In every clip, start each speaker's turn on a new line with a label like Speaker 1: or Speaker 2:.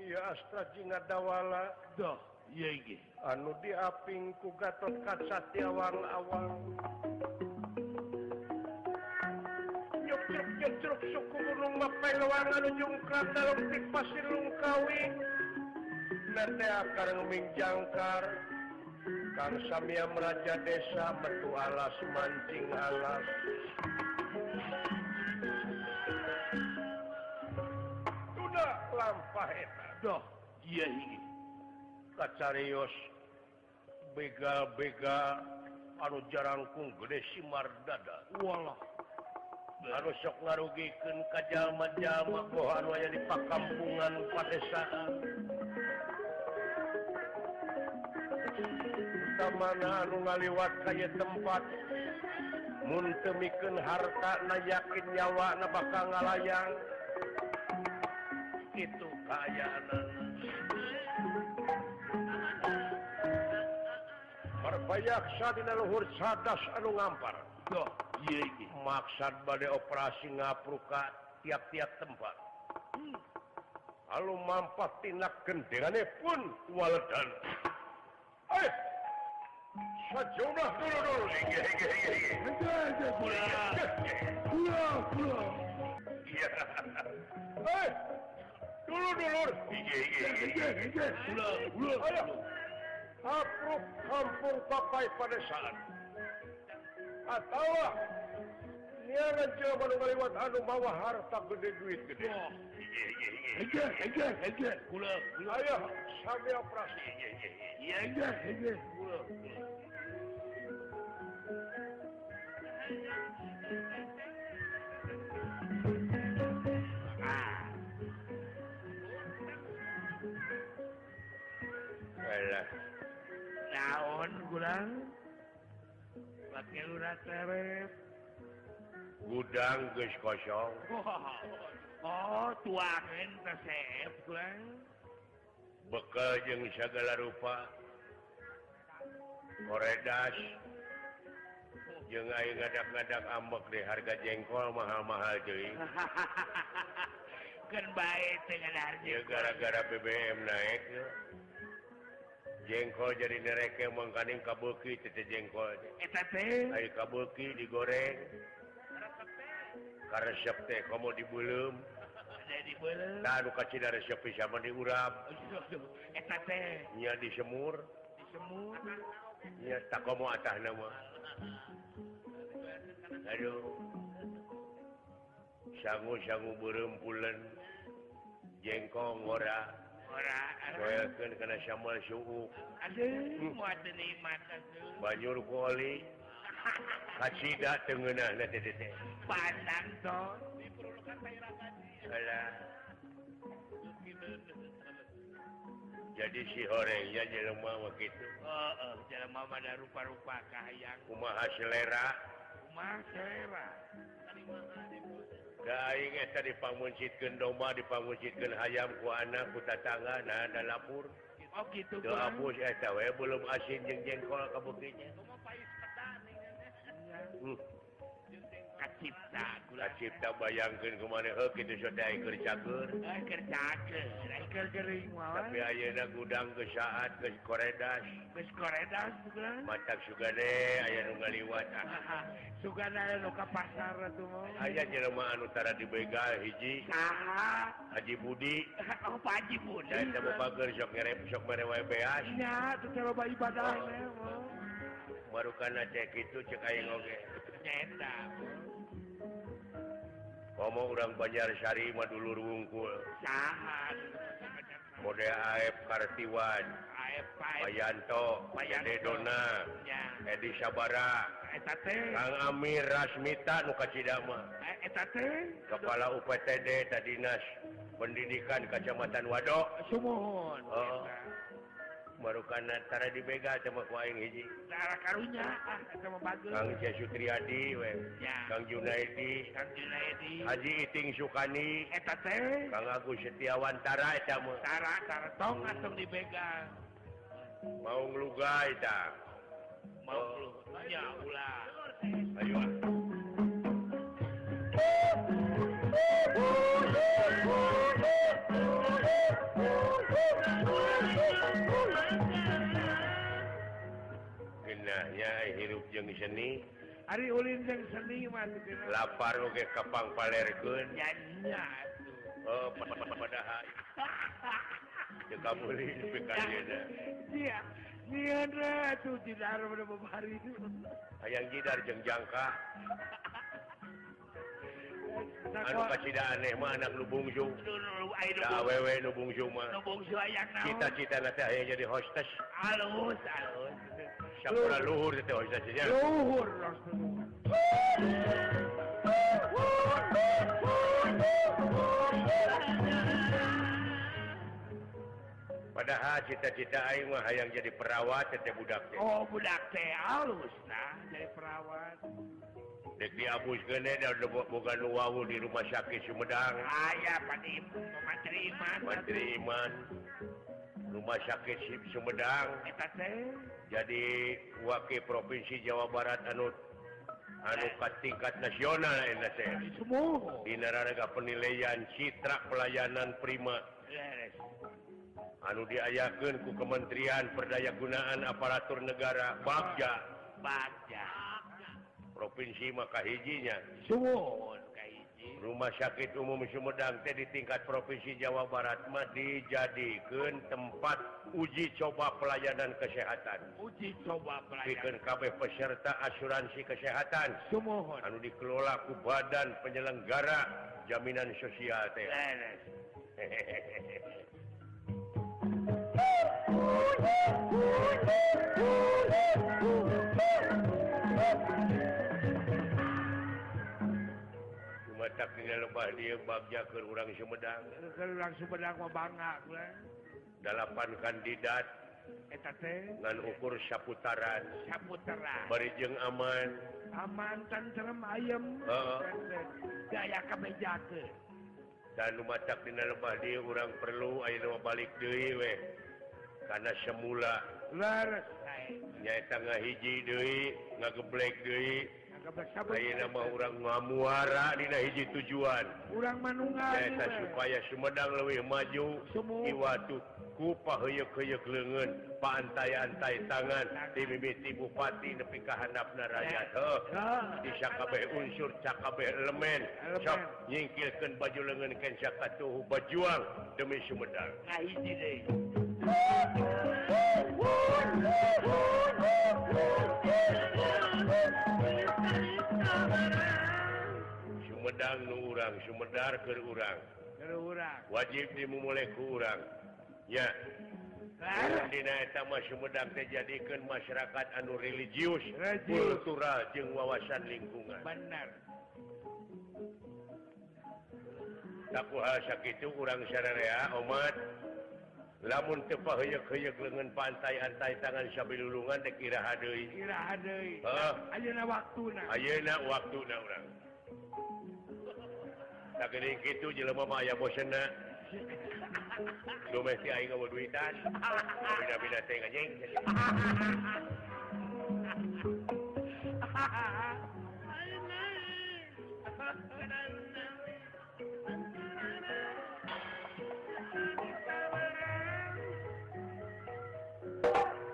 Speaker 1: Astra dawala
Speaker 2: Duh, iya iki.
Speaker 1: anu diaping ku Gatot Katsatyawan awal nyuk nyuk nyuk nyuk suku gunung mapailuan anu jungkran dalam tik pasir lungkawi nanti akar ngeming jangkar kang samia meraja desa metu alas mancing alas sudah lampah eta
Speaker 2: Duh, iya iki.
Speaker 1: kacarios begal-begal anu jarangkung gede simar dada
Speaker 2: Walah.
Speaker 1: anu sok ngarugikan kajama-jama boh anu aya di pakampungan padesaan tamana anu ngaliwat kaya tempat mun teu mikeun harta na yakin nyawa na bakal ngalayang itu kaayaanan Marbayaksa dina luhur sadas anu ngampar.
Speaker 2: Duh, iya iki.
Speaker 1: Maksud badai operasi ngapruka tiap-tiap tempat. Lalu mampat tindak gendengannya pun waledan. Ayo! Sajunah dulu dulu. Hege, hege, hege, hege. Hege, hege. Iya. Hei! Dulu dulu. Hege, hege, hege, hege.
Speaker 2: Ulah, ulah.
Speaker 1: Ayo. Apruk kampung papai pada saat. Atau eh, Nia raja baru ngaliwat anu bawa harta gede duit gede.
Speaker 2: Duh.
Speaker 1: Hege, hege, hege.
Speaker 2: Ulah, ulah.
Speaker 1: Ayo, sambil operasi. Hege, hege,
Speaker 2: Iya iki.
Speaker 1: hege.
Speaker 2: Ulah, ulah.
Speaker 1: Alah.
Speaker 3: naon kurang pakai lurah teret
Speaker 1: Gudang geus kosong.
Speaker 3: oh, oh tuangan resep kurang
Speaker 1: bekal jeung segala rupa koredas jeung aing ngadak-ngadak ambek di harga jengkol mahal-mahal deui
Speaker 3: kan baik dengan harga
Speaker 1: ya gara-gara BBM naik ya. jengkol jadi nereke mangkaning kabuki tete jengkol
Speaker 3: eta teh
Speaker 1: ai kabuki digoreng karesep teh komo dibulem
Speaker 3: ada di beuleum.
Speaker 1: nah nu kacida resep sama diurap
Speaker 3: eta teh
Speaker 1: nya disemur
Speaker 3: disemur
Speaker 1: Ya, tak komo atah nama. Aduh. Sangu-sangu berempulan. Jengkong ora.
Speaker 3: ora
Speaker 1: Koyakan kena sambal suuk.
Speaker 3: ada muat deui mata
Speaker 1: Banyur ku oli. Kacida tengenah na tete.
Speaker 3: pandang to
Speaker 1: Alah.
Speaker 3: Gitu.
Speaker 1: Jadi si horeng ya jelema begitu.
Speaker 3: oh, oh jelema pada rupa-rupa kahayang
Speaker 1: Kumaha selera.
Speaker 3: Kumah selera.
Speaker 1: Da aing eta dipanguncitkeun domba, dipanguncitkeun hayam ku anak, ku tatangga, nah da lapur.
Speaker 3: Oh gitu
Speaker 1: Tuh hapus eta we belum asin jeung jengkol kabukinya. Hmm,
Speaker 3: Kacipta
Speaker 1: Ulah cipta bayangkeun kumaneh heuh kitu sadaya keur cager.
Speaker 3: Eh kerja ke. Iker gering
Speaker 1: Tapi
Speaker 3: mawon.
Speaker 1: ayeuna gudang geus saat geus koredas.
Speaker 3: Bes koredas bukan.
Speaker 1: Matak sugane aya nu ngaliwat. Ah,
Speaker 3: Suka naya lo ke pasar tuh mau.
Speaker 1: Aya jelema anu tara dibegal hiji
Speaker 3: Saha.
Speaker 1: Haji Budi.
Speaker 3: Oh Pak Haji pun.
Speaker 1: Saya teh babageun sok ngerep sok mere wae beas.
Speaker 3: Iya, tuh cara bayi ibadah
Speaker 1: Oh.
Speaker 3: ya, mau.
Speaker 1: Marukana teh kitu cek aing oge.
Speaker 3: Nyenda.
Speaker 1: Komo urang Banjarsari mah dulur wungkul.
Speaker 3: Saha.
Speaker 1: Mode Aep Kartiwan,
Speaker 3: Aep aep.
Speaker 1: Payanto,
Speaker 3: Payanto.
Speaker 1: Dede Dona,
Speaker 3: Ya.
Speaker 1: Edi Sabara,
Speaker 3: Eta teh.
Speaker 1: Kang Amir Rasmita nu kacidama,
Speaker 3: Eh, Eta teh.
Speaker 1: Kepala UPTD Tadinas Pendidikan Kecamatan Wadok,
Speaker 3: Sumuhun.
Speaker 1: Oh. marukana tara dibega sama ku aing hiji.
Speaker 3: Darah karunya. Ah, eta mah bagus.
Speaker 1: Kang C. Sutriadi, we.
Speaker 3: Ya.
Speaker 1: Kang
Speaker 3: Kan
Speaker 1: Junaidi,
Speaker 3: Kang Junaidi.
Speaker 1: Haji Iting Sukani,
Speaker 3: Eta teh.
Speaker 1: Kang Agus Setiawan Tara eta mah.
Speaker 3: Tara, tara tong atong dibegal.
Speaker 1: Mau ngluga eta. Oh.
Speaker 3: Mau lu. Ya ulah.
Speaker 1: Ayo ah. nya ay hirup jeung seni
Speaker 3: Ari ulin yang seni mah tuh kena.
Speaker 1: lapar oge kapang palerkeun
Speaker 3: Nyanyinya tuh.
Speaker 1: oh pa- pa- padaha teu kabuli nepi ka dieu
Speaker 3: Iya. Niana tuh tidak ada pada babari
Speaker 1: hayang jidar jeung jangka anu
Speaker 3: Nakwa.
Speaker 1: kacida aneh mah anak nu bungsu
Speaker 3: Nah, Aduh, nu ayo
Speaker 1: da
Speaker 3: nu
Speaker 1: awewe nu bungsu mah
Speaker 3: nu bungsu ayang naon.
Speaker 1: cita-cita na teh aya jadi hostess
Speaker 3: Alus, alus.
Speaker 1: sampura luhur teh hostess nya
Speaker 3: Luhur, Rasulullah.
Speaker 1: padahal cita-cita aing mah hayang jadi perawat teh budak teh
Speaker 3: Oh budak teh halus nah dari perawat.
Speaker 1: dek diabus geune da boga nu wawu di rumah sakit Sumedang
Speaker 3: Ayah padi pemateri iman.
Speaker 1: Menteri Iman Rumah Sakit Sip Sumedang
Speaker 3: Eta teh.
Speaker 1: jadi wakil Provinsi Jawa Barat anu anu ka tingkat nasional eta teh.
Speaker 3: Semua.
Speaker 1: di naraga penilaian citra pelayanan prima
Speaker 3: Beres.
Speaker 1: anu diayakeun ku Kementerian Perdayagunaan Aparatur Negara Bagja
Speaker 3: Baca.
Speaker 1: Provinsi maka hijinya
Speaker 3: Semua. Kaiji.
Speaker 1: Rumah Sakit Umum Sumedang teh di tingkat Provinsi Jawa Barat mah dijadikeun tempat uji coba pelayanan kesehatan.
Speaker 3: Uji coba
Speaker 1: bikin
Speaker 3: pelajaran.
Speaker 1: KB peserta asuransi kesehatan
Speaker 3: Semua.
Speaker 1: anu dikelola ku badan penyelenggara jaminan sosial teh
Speaker 3: Beres.
Speaker 1: cuma tak tinggal lebah dia bagja ke orang Sumedang
Speaker 3: Kalau langsung pedang mau bangga pula.
Speaker 1: delapan kandidat
Speaker 3: Eta teh.
Speaker 1: ngan ukur saputaran
Speaker 3: Saputeran.
Speaker 1: barijeng aman
Speaker 3: Aman tentrem ayam.
Speaker 1: Heeh.
Speaker 3: Gaya kebejakan.
Speaker 1: dan rumah tak dina lebah dia orang perlu ayo balik deui weh karena semula
Speaker 3: Leres. Ay.
Speaker 1: nyaita ngahiji deui ngageblek deui
Speaker 3: Nggak bersabar.
Speaker 1: Lain nama orang ngamuara dina hiji tujuan.
Speaker 3: Urang manungan.
Speaker 1: Eta
Speaker 3: we.
Speaker 1: supaya Sumedang leuwih maju.
Speaker 3: Semu.
Speaker 1: Iwatu ku paheuyek-heuyek leungeun, paantai-antai tangan, timimiti bupati nepi ka handapna rakyat. Heuh.
Speaker 3: Heeh.
Speaker 1: Di sakabeh unsur, sakabeh elemen, sok nyingkilkeun baju leungeun ken sakatuhu bajuang demi Sumedang.
Speaker 3: Ngahiji deui.
Speaker 1: Sumedang nu urang, Sumedar keur urang.
Speaker 3: Terus urang.
Speaker 1: Wajib dimulai ku urang. Ya.
Speaker 3: Leres.
Speaker 1: Dinaetama Sumedang teh jadikan masyarakat anu religius,
Speaker 3: Religius.
Speaker 1: kultural jeung wawasan lingkungan.
Speaker 3: Bener.
Speaker 1: Takuha sakitu urang sararea omat lamun teu paheuyek-heuyek leungeun pantai-antai tangan sabilulungan teh kiraha deui.
Speaker 3: Kira deui.
Speaker 1: Heeh.
Speaker 3: Ayeuna waktuna.
Speaker 1: Ayeuna waktuna urang. Sakeuning kitu jelema mah aya bosenna. Domesti aing gawe duitan. Bida-bida teh anjing.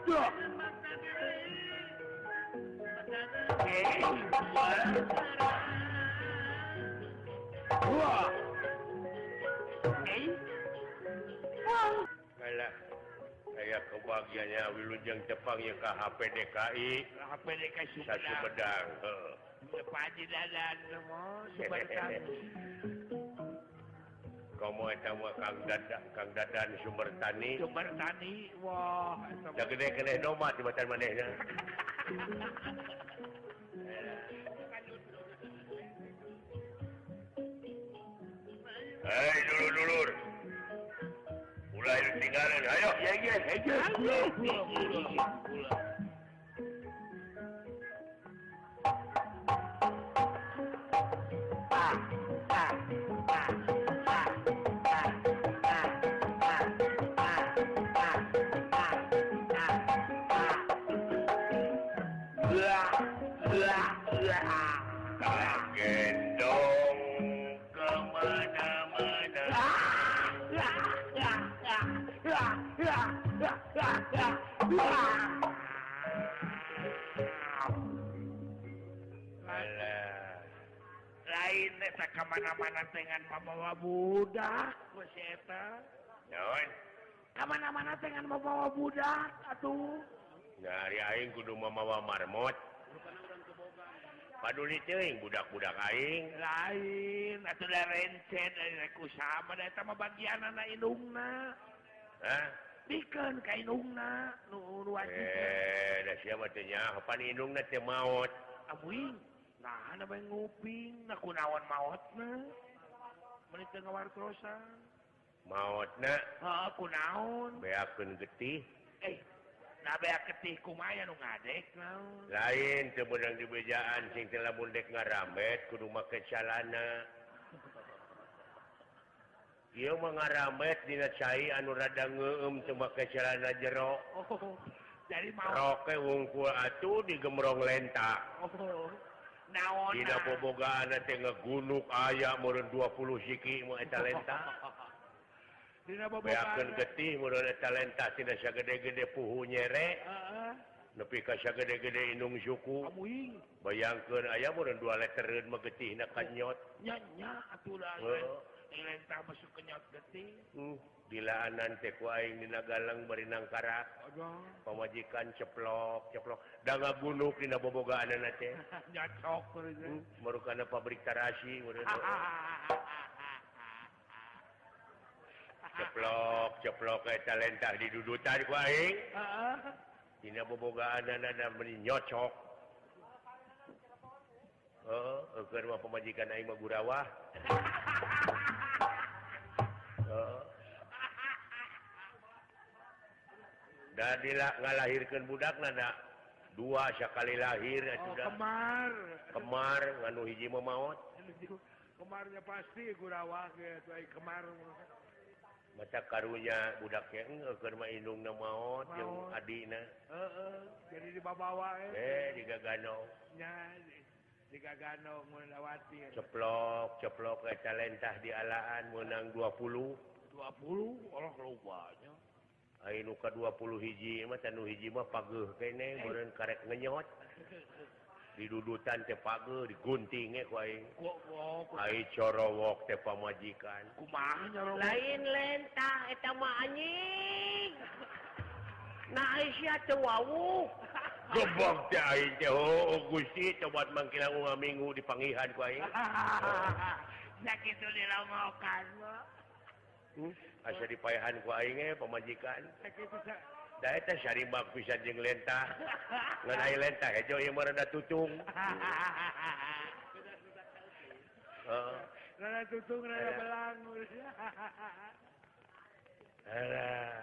Speaker 3: Duh. Eh, Wah. Eh.
Speaker 1: Alah, saya kebahagiaannya Wilujeng Jepang ya ke HP DKI
Speaker 3: Apa dia kasih
Speaker 1: Sasi
Speaker 3: pedang?
Speaker 1: Bedang. Heuh.
Speaker 3: Padi dadan semua, sebentar.
Speaker 1: Komo eta mah Kang Dadan, Kang Dadan sumber tani.
Speaker 3: sumber tani wah
Speaker 1: Da
Speaker 3: sama-
Speaker 1: gede keneh nomad di batan manehna. Hei, dulur-dulur. Mulai tinggalan. Ayo, ya ya, ya.
Speaker 3: Gula, gula, gula.
Speaker 1: Tak gendong kemana-mana.
Speaker 3: Ah! lain eta kemana-mana dengan membawa budak bos eta
Speaker 1: Naon?
Speaker 3: kemana-mana dengan membawa budak atuh
Speaker 1: Nyari aing kudu mamawa marmot. Paduli teuing budak-budak aing.
Speaker 3: lain atuh da rencen dari kusama da eta mah bagianana indungna
Speaker 1: Hah?
Speaker 3: bikin ka indungna nu nu wajib
Speaker 1: Eh, da sia mah teu nyaho panindungna teu maot.
Speaker 3: amuing nah ana bae nguping na kunaon maotna mun teu ngawartosan
Speaker 1: Maotna
Speaker 3: heeh kunaon
Speaker 1: beakeun getih,
Speaker 3: eh na bea ketih kumaya nu ngadek naon
Speaker 1: lain teu beunang dibejaan sing teu lamun dek ngarambet kudu make calana. Ieu mah ngarambet dina cai anu rada ngeueum teu make calana jero.
Speaker 3: oh jadi mau
Speaker 1: Roke wungkul atuh digemrong lentak.
Speaker 3: oh naon
Speaker 1: Tidak bobogaan teh ngegunuk aya meureun 20 siki mah eta lenta.
Speaker 3: dina bobogaan
Speaker 1: Beakeun getih meureun eta lenta tina sagede-gede puhu nyere
Speaker 3: heeh
Speaker 1: nepi ka sagede-gede indung suku.
Speaker 3: amuing
Speaker 1: Bayangkeun aya meureun 2 litereun mah getihna kanyot.
Speaker 3: nyanya atuh lah
Speaker 1: Heeh.
Speaker 3: Lentah masuk kenyot getih.
Speaker 1: Hmm, Dilaanan teh ku aing dina galang bari nang karak
Speaker 3: Aduh,
Speaker 1: pamajikan ceplok ceplok da ngagunuk dina bobogaanna teh.
Speaker 3: nyocok terus.
Speaker 1: Hmm, Marukana pabrik tarasi meureun.
Speaker 3: Ah,
Speaker 1: Ceplok ceplok eta lenta didudutan ku aing.
Speaker 3: Heeh.
Speaker 1: Tina bobogaan anak beri nyocok. Oh, keur mah pemajikan aing mah gurawah. Oh. Da dila ngalahirkeun budak nada dua sekali lahir
Speaker 3: Oh,
Speaker 1: atuh da.
Speaker 3: kemar.
Speaker 1: Kemar nganu hiji mah maot.
Speaker 3: Kemarnya pasti gurawah ya, tuh ay, kemar.
Speaker 1: Mata karunya budaknya engeuh keur mah indungna maot jeung
Speaker 3: Maot.
Speaker 1: adina.
Speaker 3: Heeh, jadi di bawah
Speaker 1: Eh, digagano.
Speaker 3: nya jika ganong melewati
Speaker 1: Ceplok, ceplok eta lentah di alaan menang 20.
Speaker 3: 20 orang lobanya.
Speaker 1: Ayo nuka 20 hiji mah tanu hiji mah pageuh kene meureun karek ngenyot. Didudutan teh pageuh diguntinge ku aing.
Speaker 3: Kok kok
Speaker 1: Ai corowok teh pamajikan.
Speaker 3: kumaha nya lo?
Speaker 4: lain lentah eta mah anjing na Aisyah teu wawu
Speaker 1: Gebog teh aing teh oh Gusti tobat mangkilang ungah minggu di pangihan ku aing.
Speaker 3: Ya kitu iya. dilamokan.
Speaker 1: Asa dipayahan ku aing eh pamajikan.
Speaker 3: Ya kitu sa.
Speaker 1: Da eta sarimbak pisan jeung lentah. Ngan
Speaker 3: iya.
Speaker 1: ai lentah hejo ieu mah rada tutung. Heeh.
Speaker 3: Rada tutung rada
Speaker 1: Rada.
Speaker 3: belang.
Speaker 1: Alah.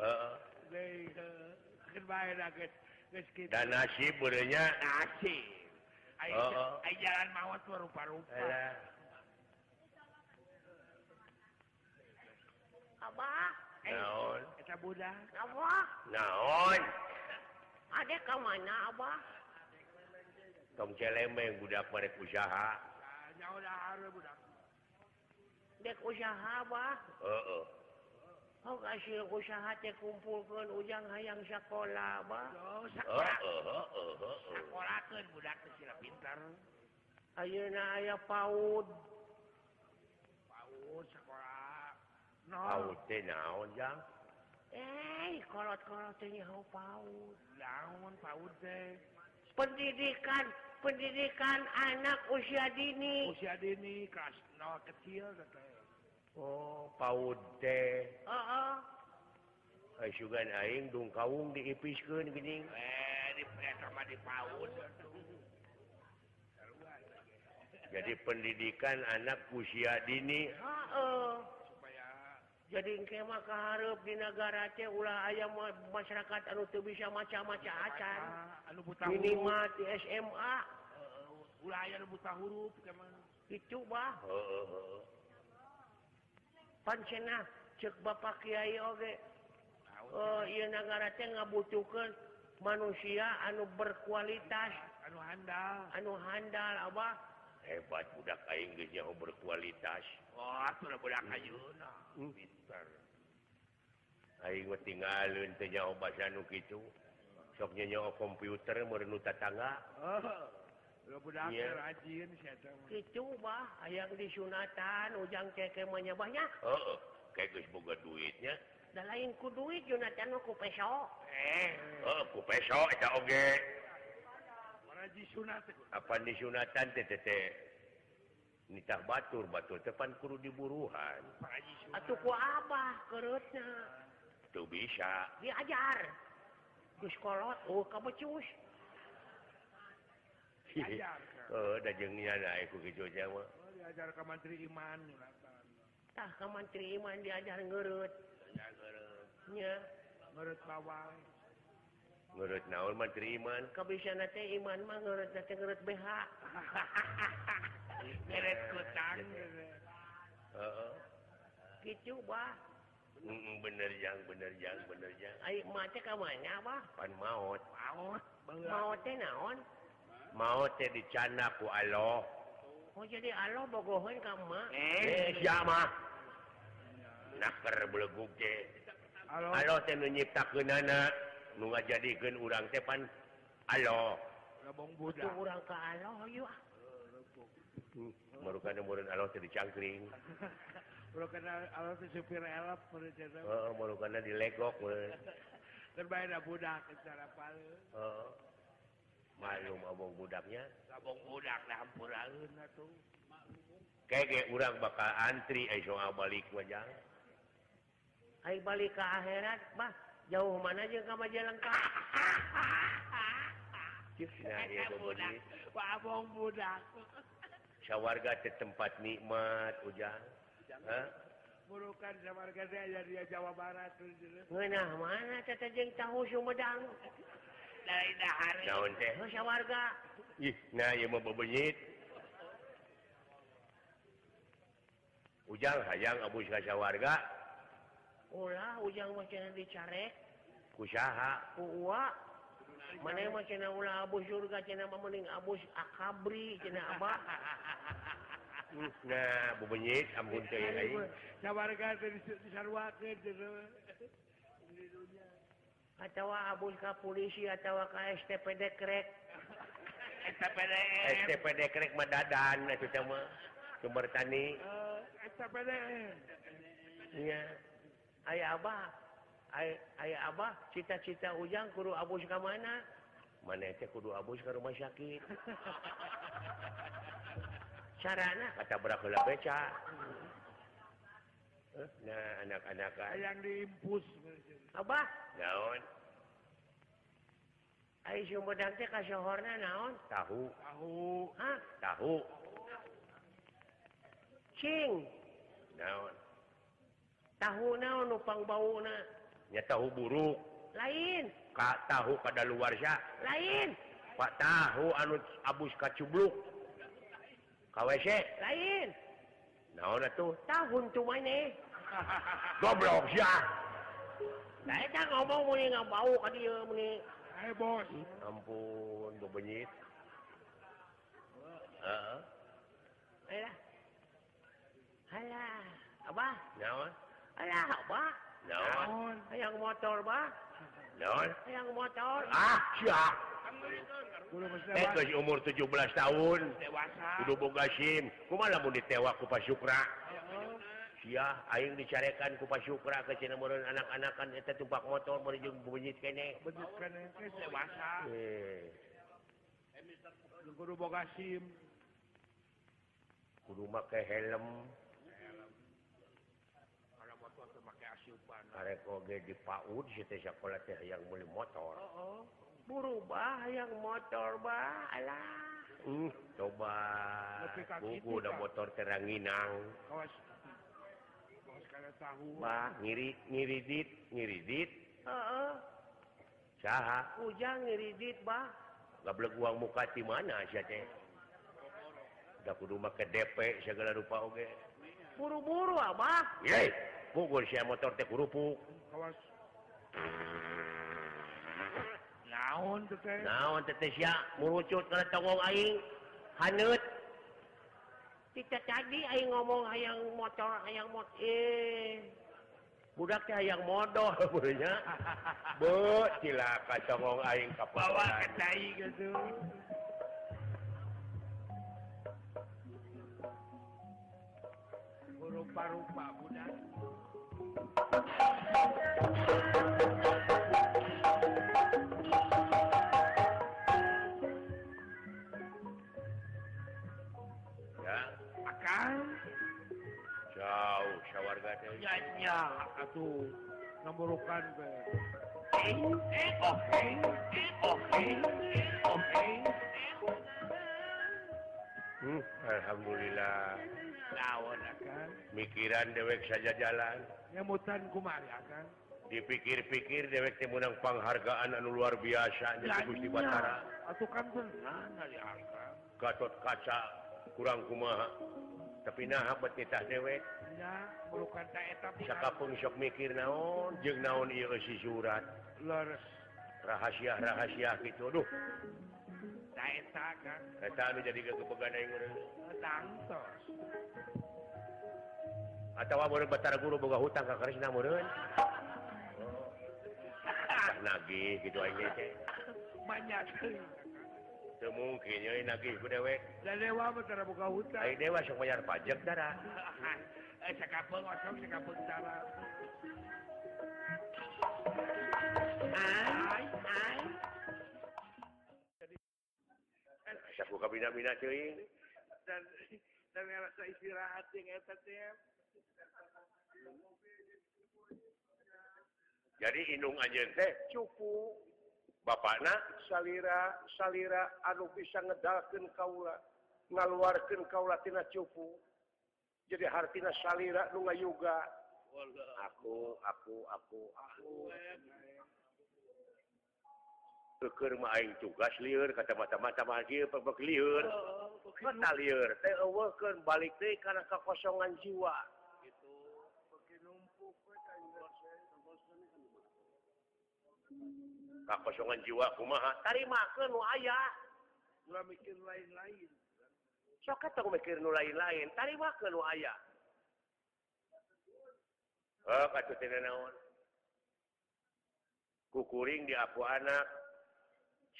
Speaker 1: Heeh.
Speaker 3: Deui keun bae da geus geus kitu.
Speaker 1: Dan nasib budenya
Speaker 3: Nasi. Ai
Speaker 1: Heeh.
Speaker 3: ai jalan mawat mah rupa-rupa.
Speaker 1: Alah.
Speaker 4: abah
Speaker 3: Eh,
Speaker 1: Naon?
Speaker 3: Eta budak.
Speaker 4: abah
Speaker 1: Naon?
Speaker 4: adek ka mana abah
Speaker 1: Tong celeme budak merek usaha.
Speaker 3: Ah, Nyawa dahar we budak.
Speaker 4: dek usaha abah
Speaker 1: Heeh.
Speaker 4: Hok hasil usaha teh kumpulkeun ujang hayang sakola abah
Speaker 3: Yo,
Speaker 1: Heeh,
Speaker 3: sakola.
Speaker 1: heeh, heeh, heeh.
Speaker 3: Sakolakeun budak teh sila pintar.
Speaker 4: ayeuna aya paud
Speaker 3: Paud sakola. No.
Speaker 1: Paut teh naon, Jang?
Speaker 4: eh kolot-kolot teh nyaho paud
Speaker 3: Lamun paud teh.
Speaker 4: pendidikan pendidikan anak usia dini
Speaker 3: Usia dini kelas no kecil teh.
Speaker 1: Oh, paut teh.
Speaker 4: heeh
Speaker 1: Asugan aing dung kaung diipiskeun geuning.
Speaker 3: Eh, di eta mah di paud.
Speaker 1: Jadi pendidikan anak usia dini.
Speaker 4: heeh
Speaker 3: Supaya
Speaker 4: ah. jadi engke mah kahareup di negara teh ulah aya ma- masyarakat anu teu bisa maca-maca acan
Speaker 3: Ah, anu buta huruf.
Speaker 4: minimal di SMA
Speaker 3: Eh, Ulah aya anu buta huruf kemana.
Speaker 4: itu bah
Speaker 1: Heeh, heeh.
Speaker 4: pancena cek bapak kiai oge eh ieu negara teh ngabutuhkeun manusia anu berkualitas
Speaker 3: Anu handal.
Speaker 4: anu handal abah
Speaker 1: Hebat budak aing geus nyaho berkualitas.
Speaker 3: Oh, atuh lah budak ayeuna. Pintar.
Speaker 1: Aing mah tinggalin teh nyaho basa nu kitu. Sok nyaho komputer meureun nu tatangga.
Speaker 3: Oh. Lo budak
Speaker 1: Iya.
Speaker 3: rajin sih eta mah.
Speaker 4: Itu bah, yang disunatan, ujang keke mah nya, bah nya.
Speaker 1: Oh, kayak geus boga duitnya.
Speaker 4: Da lain ku duit, Jonathan mah ku peso.
Speaker 3: Eh,
Speaker 1: Oh, ku peso eta oge.
Speaker 3: raji sunat.
Speaker 1: Apa disunatan teh teh teh. Nitah batur, batur tepan kudu diburuhan.
Speaker 3: Raji sunat.
Speaker 4: Atuh ku abah, kereutna.
Speaker 1: Tuh bisa.
Speaker 4: Diajar. Gus kolot, oh kabecus.
Speaker 3: Diajar kan.
Speaker 1: Oh, da jeung nya da ku kitu teh mah.
Speaker 3: Oh, diajar ke Menteri Iman Jonathan.
Speaker 4: Tah ka mantri iman diajar ngereut. Nya,
Speaker 3: Menurut bawang.
Speaker 1: Ngereut naon menteri iman.
Speaker 4: kabisana teh iman mah ngereut teh ngereut BH.
Speaker 3: Meret kutang.
Speaker 1: Heeh.
Speaker 4: Gitu bah.
Speaker 1: Mm, bener yang bener yang bener yang
Speaker 4: Ai emak teh ka mana bah?
Speaker 1: pan maut
Speaker 3: Maut. Bawa.
Speaker 4: Mau teh naon?
Speaker 1: maut teh dicanda ku Allah
Speaker 4: Oh jadi Allah bogohan ka emak.
Speaker 1: eh siapa naker beleguk teh
Speaker 3: Halo.
Speaker 1: Allah teh nu nyiptakeun anak nu ngajadikeun urang teh pan Allah
Speaker 3: Lebong
Speaker 4: Tuh
Speaker 3: budak.
Speaker 4: urang ka Allah oh, yuk.
Speaker 1: merukan murid Allah teh dicangkring
Speaker 3: Udah kenal alat supir elap menurut cerita.
Speaker 1: heeh merukan Eh, dilegok eh. meureun
Speaker 3: Terbaik ada budak secara paling.
Speaker 1: heeh malum abong Eh, budaknya
Speaker 3: Labong budak dah ampuraun atuh.
Speaker 1: kege urang bakal antri esok balik wajang
Speaker 4: Hai balik ke akhirat bah jauh mana aja kamu jalan kak
Speaker 1: nah ieu bebelit.
Speaker 3: Labong budak.
Speaker 1: syawarga ke tempat nikmat Eh, ujang Hah?
Speaker 3: Burukan sama warganya jadi Jawa Barat tuh jadi.
Speaker 4: ngenah mana tata jeng tahu sumedang
Speaker 3: Dari dahar.
Speaker 1: naon teh
Speaker 4: terus warga
Speaker 1: ih nah ieu mah bebenyit ujang hayang abus ka syawarga
Speaker 4: ulah ujang macam dicarek
Speaker 1: kusaha
Speaker 4: kuwa mana macam ulah abu surga cina mending abus akabri cina abah
Speaker 1: Hmm, nah bebenyit ampun teh aing
Speaker 3: Sama warga tuh dis- disarwakeun jadi.
Speaker 4: atau abus ke polisi atau ke STPD krek
Speaker 3: STPDN.
Speaker 1: STPD krek mah dadan atuh teh mah sumber tani
Speaker 3: Eh, STPDN.
Speaker 4: nya ayah abah ay- ayah abah cita-cita ujang kuru abus ke mana
Speaker 1: mana teh kudu abus ka rumah sakit
Speaker 4: sarana
Speaker 1: kata berakhula beca Eh, nah anak-anak kan
Speaker 3: Yang diimpus. menurut jadi.
Speaker 4: abah
Speaker 1: naon
Speaker 4: Ay, sumedang teh kasohorna naon?
Speaker 1: tahu
Speaker 3: Tahu.
Speaker 4: Hah?
Speaker 1: tahu
Speaker 4: Cing.
Speaker 1: naon
Speaker 4: Tahu naon nupang bauna.
Speaker 1: nya tahu buruk
Speaker 4: Lain.
Speaker 1: Ka tahu pada luar ya
Speaker 4: Lain.
Speaker 1: Pak tahu anu abus kacubluk KWC
Speaker 4: Lain.
Speaker 1: naon atuh
Speaker 4: Tahun tu mana?
Speaker 1: goblok ya
Speaker 4: Nah, eta ngomong muni ngabau ka dieu muni.
Speaker 3: Hai bos.
Speaker 1: ampun bebenyit Heeh,
Speaker 4: Alah. Alah. Abah.
Speaker 1: naon
Speaker 4: Alah, abah.
Speaker 1: naon
Speaker 3: Naon.
Speaker 4: Hayang motor, bah.
Speaker 1: naon
Speaker 4: Hayang motor.
Speaker 1: ah sia
Speaker 3: Kudu mesti
Speaker 1: eh
Speaker 3: bas-
Speaker 1: geus umur 17 tahun
Speaker 3: dewasa.
Speaker 1: kudu boga SIM kumaha lamun ditewa ku Pak Syukra
Speaker 3: Heeh.
Speaker 1: sia aing dicarekan ku Pak Syukra ke cenah meureun anak-anakan eta tumpak motor mun jeung bebenyit kene
Speaker 3: Bentukkan ini dewasa.
Speaker 1: eh
Speaker 3: Kudu boga SIM.
Speaker 1: kudu make helm
Speaker 3: Kalau motor tuh pakai asupan.
Speaker 1: karek oge dipaud si teh sakola teh yang beli motor
Speaker 4: Oh. Buru, bah. Hayang motor, bah. Alah.
Speaker 1: Hmm, coba
Speaker 3: Tapi kaki
Speaker 1: buku udah
Speaker 3: tiga.
Speaker 1: motor teranginang
Speaker 3: Kawas. Kawas karena tahu.
Speaker 1: bah ngiri ngiridit ngiridit
Speaker 4: Heeh.
Speaker 1: saha
Speaker 4: Ujang ngiridit, bah.
Speaker 1: gablek uang muka di mana sia teh da kudu make DP segala rupa oge
Speaker 4: Buru-buru, abah.
Speaker 1: ye pukul sia motor teh kurupuk
Speaker 3: Kawas. Naon tuh teh.
Speaker 1: naon teh teh sia murucut kana tongong aing haneut
Speaker 4: Tita tadi aing ngomong hayang motor, hayang mot eh
Speaker 1: budak teh hayang modoh beunya be cilaka tongong aing ka
Speaker 3: Bawa
Speaker 1: bawah
Speaker 3: kedai gitu. rupa-rupa budak
Speaker 1: ya
Speaker 3: akan
Speaker 1: jauh syawarga teh
Speaker 3: nyanya atuh ngemurukan ke eh eh oke eh oke eh oke
Speaker 1: hmm, alhamdulillah
Speaker 3: lawan akan
Speaker 1: mikiran dewek saja jalan
Speaker 3: nyemutan kumari akan
Speaker 1: dipikir-pikir dewek teh menang penghargaan anu luar biasa nya di Gusti Batara
Speaker 3: atuh kan benar dari akan
Speaker 1: Gatot kaca kurang kumaha tapi naha bet titah dewek
Speaker 3: nya merukan tak eta
Speaker 1: sakapeung sok mikir naon jeung naon ieu eusi surat
Speaker 3: leres
Speaker 1: rahasia-rahasia gitu aduh
Speaker 3: tak eta kan
Speaker 1: eta anu jadi kebegadai ngeureun
Speaker 3: tangtos
Speaker 1: atawa meureun Batara Guru boga hutang ka Krisna meureun Tah nagih gitu aing ge teh
Speaker 3: banyak
Speaker 1: teu mungkin euy nagih ku dewek
Speaker 3: dan dewa betul buka hutan
Speaker 1: Aing dewa sok bayar pajak dara
Speaker 3: eh sakapeung osok sakapeung cara
Speaker 4: Ay, ay.
Speaker 1: Saku kabina-bina teuing
Speaker 3: dan dan rasa istirahat yang eta teh eh.
Speaker 1: jadi inung eh, anjeun teh
Speaker 5: cupu
Speaker 1: bapakna
Speaker 5: salira salira anu bisa ngedalkeun kaula ngaluarkeun kaula tina cupu jadi hartina salira nu ngayuga
Speaker 1: aku aku aku aku Keker mah aing tugas liur, kata mata-mata mah dia pebek liur.
Speaker 5: Oh,
Speaker 1: Kata liur, teh
Speaker 5: Eh,
Speaker 1: eueuhkeun balik teh karena kekosongan jiwa. Kakosongan jiwa kumaha? Tarimakeun nu aya.
Speaker 3: ulah mikir lain-lain
Speaker 1: Sok eta mikir nu lain-lain, tarimakeun nu aya. Oh, kata tina naon. Kukuring di apu anak.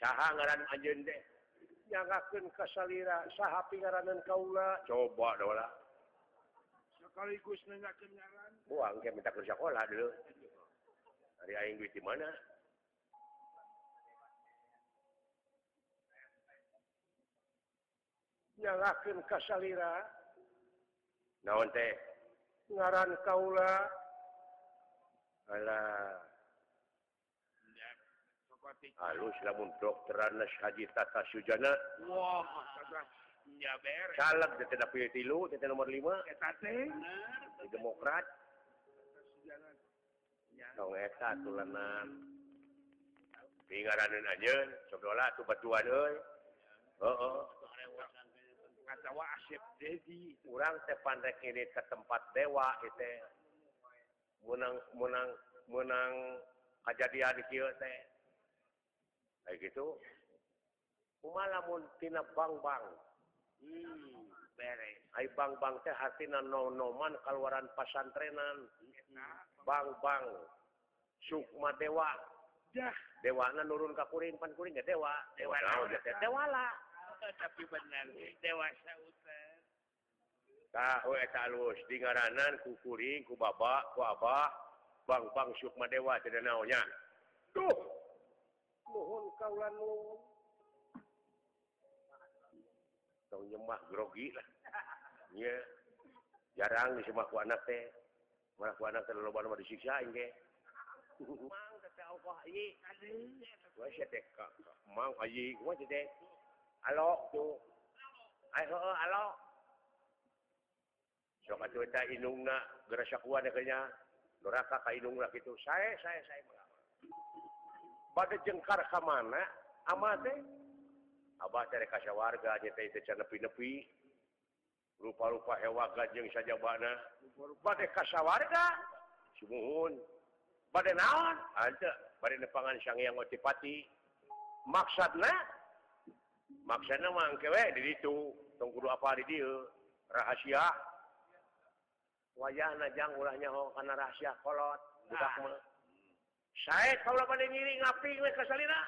Speaker 1: Saha ngaran anjeun teh.
Speaker 5: nyangakakeun ka salira saha pingaranan kaula
Speaker 1: Coba dola.
Speaker 3: sekaligus nanya kenyaran
Speaker 1: Buang kayak minta kerja sekolah dulu. Hari aing duit di mana?
Speaker 5: nyangakakeun ka salira
Speaker 1: Naon teh?
Speaker 5: ngaran kaula
Speaker 1: Alah,
Speaker 3: seperti
Speaker 1: halus lamun dokteran nas haji tata sujana.
Speaker 3: wah kata nya beres
Speaker 1: Caleg teh tidak pilih tilu, teh teh nomor lima.
Speaker 3: eta teh
Speaker 1: Di Demokrat. eh, Dong eta tulanan. Pingaranan anjeun, sok dola tu batuan euy. Heeh.
Speaker 3: atawa asep dedi
Speaker 1: Urang teh pandek ngirit ke tempat dewa itu menang menang menang kejadian kieu teh. Kayak gitu. Kumaha lamun tina bang-bang.
Speaker 3: hmm beres
Speaker 1: Ai bang-bang teh hartina nom-noman kaluaran pasantrenan.
Speaker 3: eta
Speaker 1: Bang-bang. Sukma dewa.
Speaker 3: dah
Speaker 1: Dewana nurun ka kuring pan kuring ge dewa. Dewa naon teh dewa.
Speaker 4: Dewala.
Speaker 3: tapi benar dewasa utar
Speaker 1: Tahu eta alus di ngaranan ku kuring ku baba ku abah. Bang-bang sukma dewa teh naonnya.
Speaker 5: duh nuhun kaula nuhun
Speaker 1: tong nyemah grogi lah nya jarang disemah ku anak teh mana ku anak teh loba mah disiksa engge
Speaker 4: Mang kata Allah ieu.
Speaker 1: wah sia teh ka ka- mang ayi gua teh teh alo tu ai heuh alo sok atuh eta inungna gerasa kuat kenya neraka ka inungna kitu sae sae sae
Speaker 5: bade jengkar ka mana ama teh
Speaker 1: abah teh rek kasih warga nya teh teh can nepi-nepi rupa-rupa hewa ganjeng saja bana
Speaker 5: bade ka sawarga
Speaker 1: sumuhun bade naon ada bade nepangan sang yang otipati
Speaker 5: maksudna
Speaker 1: maksana mah engke we di ditu tong kudu apa di dieu rahasia wayahna jang ulah nyaho kana rahasia kolot budak mah
Speaker 5: sae kaula bade ngiring ngaping we ka salira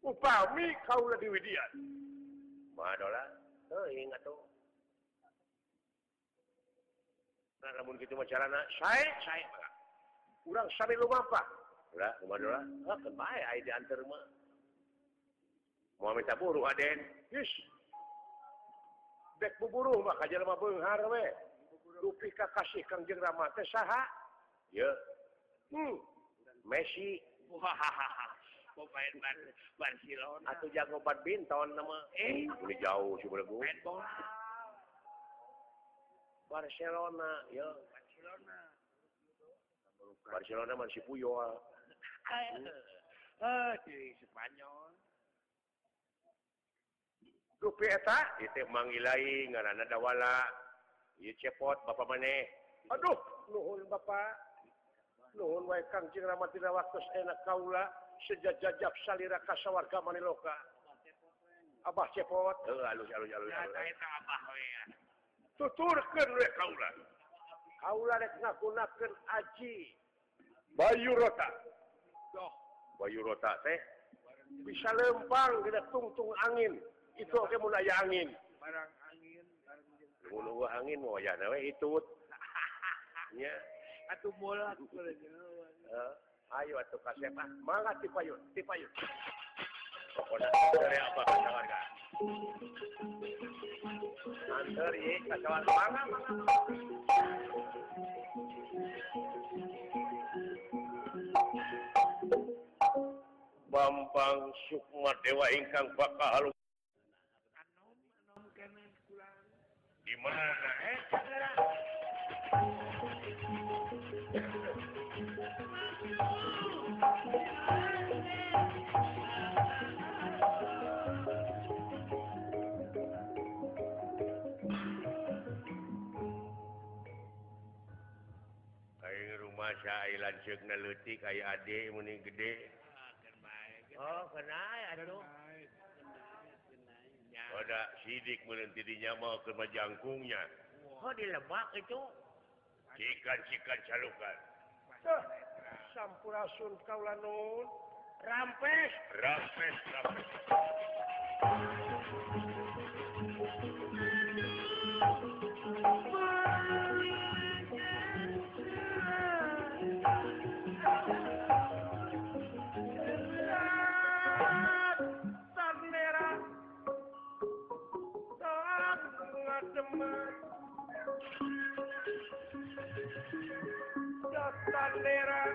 Speaker 5: upami kaula di Widian
Speaker 1: mah dola teuing atuh Nah, namun gitu mah carana, saya, saya. mah. Urang sampai rumah apa? Udah, rumah dulu lah. Ah, kebaya, ayo diantar mah. Mau minta buruh, Aden. Yes. Dek buburuh mah, kajar mah benghar, we. Dupi kakasih Kang Jeng Rama, teh saha? Ya. Hmm. Messi,
Speaker 3: Wah, pemain Bar Barcelona.
Speaker 1: atau jago badminton nama. Eh, udah jauh sih boleh
Speaker 3: Main bola.
Speaker 1: Barcelona, ya.
Speaker 3: Barcelona.
Speaker 1: Barcelona masih puyol.
Speaker 3: Eh, di Spanyol.
Speaker 1: Dupi eta, itu mangilai ngaranna dawala. Ieu cepot bapak maneh. Aduh, nuhun bapak. Nuhun wae Kang Jing Rama tina waktos enak kaula sejajajab salira ka sawarga Maniloka. Abah cepot. Heuh, alus alus alus.
Speaker 3: Ya,
Speaker 1: alus.
Speaker 3: saya tak abah we.
Speaker 1: tuturkeun we kaula. Kaula rek ngagunakeun aji Bayu Rota.
Speaker 3: Doh,
Speaker 1: Bayu Rota teh bisa lempang tidak tungtung angin. Itu oke mun aya angin.
Speaker 3: barang angin, barang angin.
Speaker 1: Mun eueuh angin mau aya we itut. Nya,
Speaker 3: Atuh bola kudu jeuh.
Speaker 1: eh, ayo atuh ka sepah. Mangga ti payu, ti payu. Pokona dari apa ka warga. Antar ye ka warga. Mangga, mangga. Bambang Sukma Dewa ingkang bakal
Speaker 3: Anom, anom kana kurang.
Speaker 1: di mana eh Aing rumah saya lanceuk na leutik aya ade muni gede
Speaker 3: Ah, kan baik.
Speaker 4: Oh, kena aduh.
Speaker 1: ada sidik meureun ti dinyama ke majangkungnya
Speaker 4: Oh, di lebak itu.
Speaker 1: cikan-cikan calukan
Speaker 5: Sampurasun kaula nun.
Speaker 4: Rampes.
Speaker 1: rampes rampes
Speaker 5: Tan merah. Tan ngademan. Tan merah.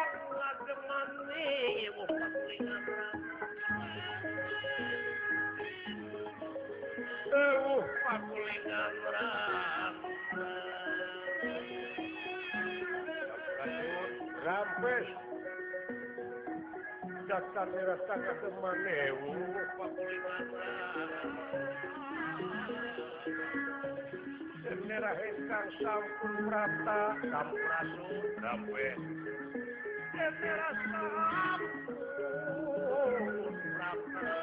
Speaker 5: Tan ngademan.
Speaker 4: Eh, ibu paklingan
Speaker 5: Eueuh.
Speaker 4: Paklingan
Speaker 5: Rampes. Dasar nerasa kademane eueuh. Nerah ingkang sampun prata sampurasun
Speaker 1: rampes
Speaker 5: nerah sampun prata.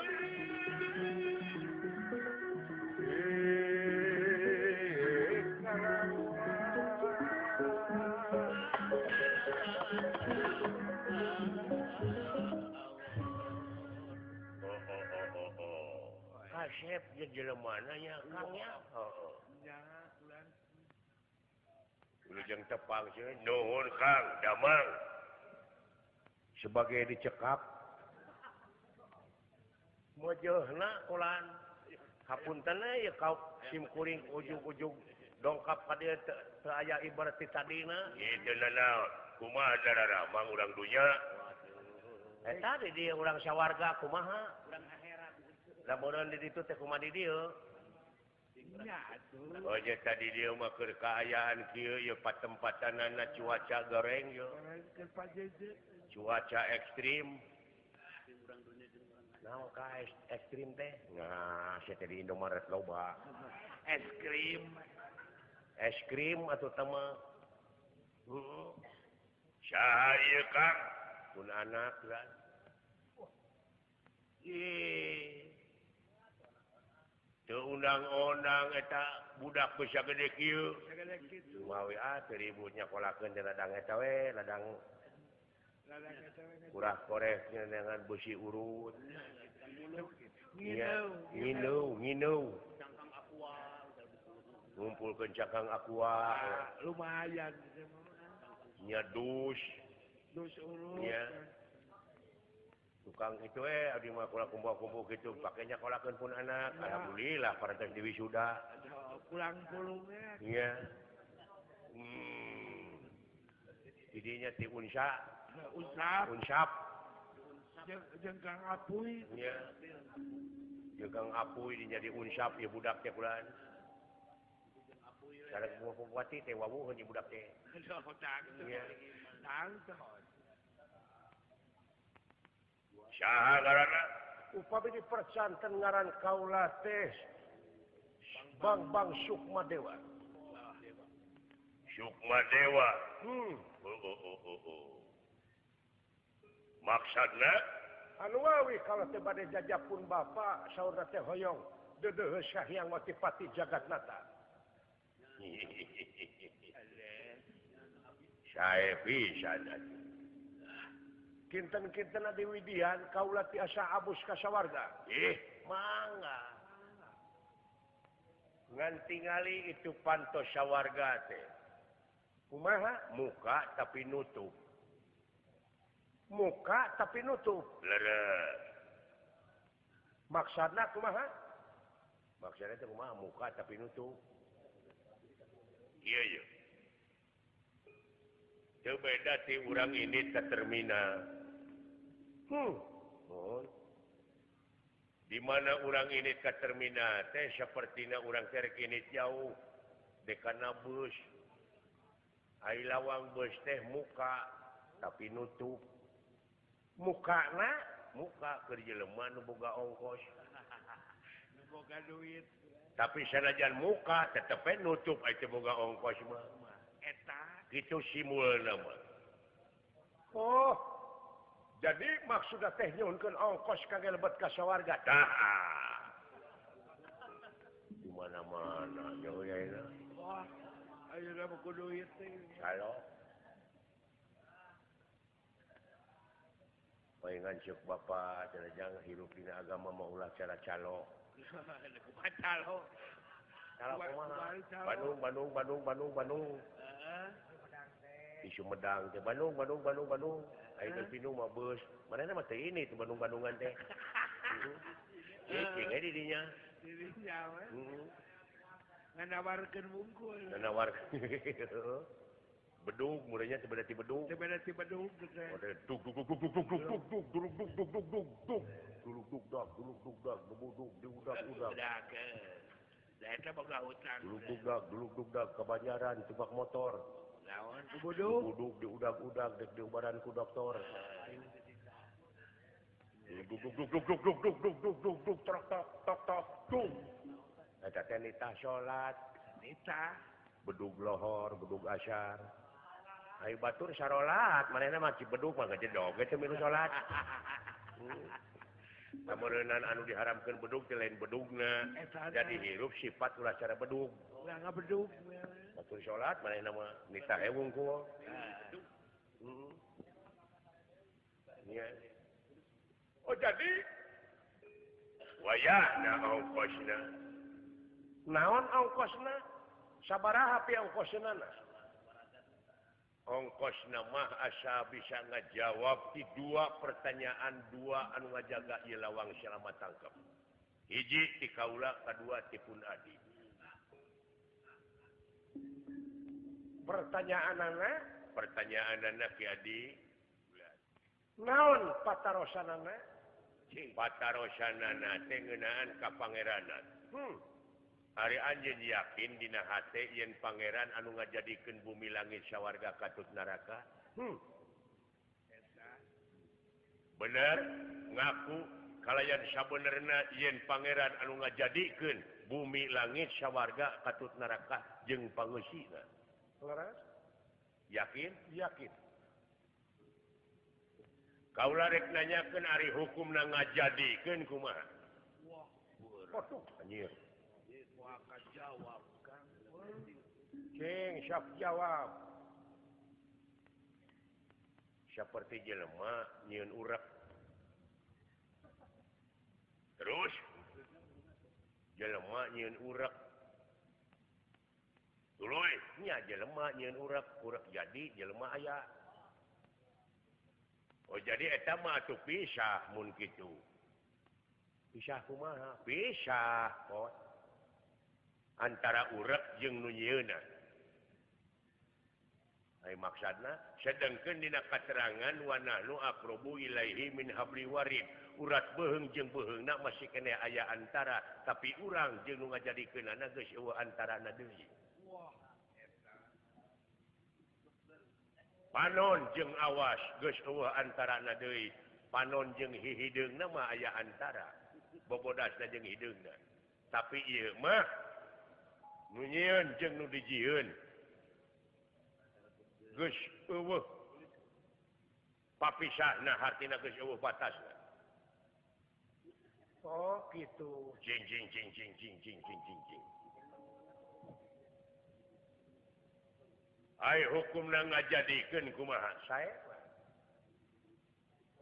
Speaker 5: Eh, kalawan.
Speaker 1: oh oh oh oh oh
Speaker 4: Kasep jeung jelema ya, Kang ya.
Speaker 1: Lujeng tepang sih, nuhun kang, damang. Sebagai dicekap,
Speaker 4: Mojohna kulan. Hapunten ya kau simkuring ujung-ujung dongkap ka dieu teu teu aya ibarat ti tadina.
Speaker 1: itu nanaon, kumaha darara, mang urang dunya,
Speaker 4: Eta di dia urang sawarga kumaha? Urang akhirat. Lamunan di ditu teh kumaha di Oh, dieu?
Speaker 1: hanya tadi dia mah keur kaayaan kieu ya patempatanana cuaca goreng yo. Cuaca ekstrim,
Speaker 4: Naon ka es- ekstrim teh?
Speaker 1: nah, saya tadi Indomaret loba.
Speaker 3: Es krim.
Speaker 1: Es krim atau tema,
Speaker 4: Hmm.
Speaker 1: saha ieu kang, pun anak lah.
Speaker 4: Ih.
Speaker 1: Teu undang-undang eta budak bisa gede kieu. Mawi ah teu ribut nyakolakeun di ladang eta we, ladang kurah korek dengan besi urut. Iya, Ngineu, ngineu.
Speaker 4: ngumpul ke cakang aqua
Speaker 3: Ah, lumayan.
Speaker 4: nyadus
Speaker 3: Dos urus.
Speaker 4: Iya. tukang itu eh abdi mah kula kumpul-kumpul gitu pakainya kolakan pun anak
Speaker 3: Ya.
Speaker 4: alhamdulillah para teh di wisuda
Speaker 3: Aduh, pulang pulungnya.
Speaker 4: iya hmm. didinya ti unsa
Speaker 3: Usap.
Speaker 4: unsap
Speaker 3: jeng- Jengkang apui.
Speaker 4: iya jeung apuy dinya di unsap ya budak teh kulaan Sareng bupati teh wawuh heunya budak teh
Speaker 3: Aduh, tangtuh.
Speaker 4: Iya.
Speaker 3: Tangtuh.
Speaker 4: saha ngaranna upami dipercanten ngaran kaula teh Bang Bang Sukma Dewa
Speaker 1: Sukma Dewa.
Speaker 4: hmm
Speaker 1: Oh, oh, oh, oh, oh. Maksudnya,
Speaker 4: Anwawi kalau tiba di jajah pun bapak saudara teh hoyong dedeh syahyang watipati jagat nata.
Speaker 1: saya bisa.
Speaker 4: Kinten-kinten di widian kaulah tiasa abus kasawarga.
Speaker 1: Eh,
Speaker 4: Mangga. Ngan tingali itu pantos sawarga teh. Kumaha? Muka tapi nutup. Muka tapi nutup.
Speaker 1: leres.
Speaker 4: Maksudnya kumaha? Maksudnya teh kumaha? Muka tapi nutup.
Speaker 1: Iya, iya. Itu beda ti orang ini ke terminal.
Speaker 4: Hmm. Oh,
Speaker 1: Di mana orang ini ke terminal, teh sepertinya orang terkini jauh. Dekana bus. Ai lawang bus teh muka, tapi nutup.
Speaker 4: mukana
Speaker 1: Muka kerja lemah nu boga ongkos.
Speaker 3: Boga duit.
Speaker 1: Tapi sanajan muka tetep eh nutup ai teu boga ongkos mah.
Speaker 3: Eta.
Speaker 1: Gitu simulna mah.
Speaker 4: oh jadi maksudnya teh nyunkeun ongkos kangge lebet ka sawarga
Speaker 1: Tah. Di mana-mana jauh ya ini.
Speaker 3: Wah. Ayo dah buku duit. teh.
Speaker 1: Halo. Palingan cek bapak jenajang hirup dina agama mah ulah cara calo.
Speaker 3: Batal. oh.
Speaker 1: Calo
Speaker 3: Kumaha,
Speaker 1: kumaha?
Speaker 3: kumaha, calo.
Speaker 1: Bandung, Bandung, Bandung, Bandung, Bandung.
Speaker 3: Heeh.
Speaker 1: Di Sumedang teh Bandung, Bandung, Bandung, Bandung. Ai teh Bandung mah beus. Mana mah teh ini teh Bandung-Bandungan teh. Cek jadi dinya.
Speaker 3: Jadi nyawa.
Speaker 1: Heeh.
Speaker 3: Nganawarkan bungkul.
Speaker 1: Nanawar. Bedug murahnya teh berarti bedug.
Speaker 3: Tiba-tiba duduk. teh.
Speaker 1: Ada duk duk duk duk duk duk duk duk duk duk duk duk duk duk duluk duk dak duluk duk dak duluk duk duk dak udak
Speaker 3: Udah ke. Dah eta boga utang.
Speaker 1: duluk duk dak duluk duk dak kebanyaran tebak motor
Speaker 3: Lawan kubudu.
Speaker 1: duduk di udak udak dek di badan ku doktor duk duk duk duk duk duk duk duk duk duk duk trok tok tok tok duk ada tenita salat
Speaker 3: Nita.
Speaker 1: bedug lohor bedug asyar Ayo batur sarolat, mana mah cibeduk mah ngejedog, itu milu salat. Kamurenan anu diharamkan bedug teh lain bedugna.
Speaker 3: Eta
Speaker 1: Jadi hirup sifat ulah cara bedug.
Speaker 3: udah Eh, nggak beduk.
Speaker 1: Batur salat mana nama nita hewung ku. Hmm. Iya. Oh jadi wayahna ongkosna.
Speaker 4: naon ongkosna sabaraha pi ongkosna
Speaker 1: Ongkosna mah asa bisa ngajawab di dua pertanyaan dua anu ngajaga ieu lawang selama tangkep. Hiji ti kaula, kedua ti pun adi.
Speaker 4: pertanyaanana
Speaker 1: Pertanyaan anak ki adi,
Speaker 4: naon patarosanana
Speaker 1: patarosanana teh ngeunaan ka pangeranan.
Speaker 4: hmm
Speaker 1: Hari anjeun yakin dina hate yen pangeran anu ngajadikeun bumi langit sawarga katut neraka.
Speaker 4: hmm
Speaker 1: Bener ngaku kalayan sabenerna yen pangeran anu ngajadikeun bumi langit sawarga katut neraka jeung pangeusina.
Speaker 4: leres
Speaker 1: Yakin?
Speaker 4: yakin
Speaker 1: Kaula rek nanyakeun ari hukumna ngajadikeun kumaha?
Speaker 4: waduh
Speaker 1: Anjir.
Speaker 4: cing siap jawab
Speaker 1: seperti jelema nyieun urek terus jelema nyieun urek dulu
Speaker 4: nya jelema nyeun urap urap jadi jelema aya
Speaker 1: oh jadi eta mah tuh pisah mun kitu
Speaker 4: pisah kumaha
Speaker 1: pisah kok antara urek jeung nu nyieuna ai maksudna sedengkeun dina katerangan wa nahnu aqrabu ilaihi min habli warid urat beuheung jeung beuheungna masih kene aya antara tapi urang jeung nu ngajadikeunana geus eueuh antarana deui panon jeung awas geus eueuh antarana deui panon jeung hihideungna mah aya antara bobodasna jeung hideungna tapi ieu mah nu nyieun jeung nu dijieun geus eueuh papisahna hartina geus eueuh batasna
Speaker 4: oh gitu
Speaker 1: jing jing jing jing jing jing jing jing jing ai hukumna ngajadikeun kumaha
Speaker 4: saya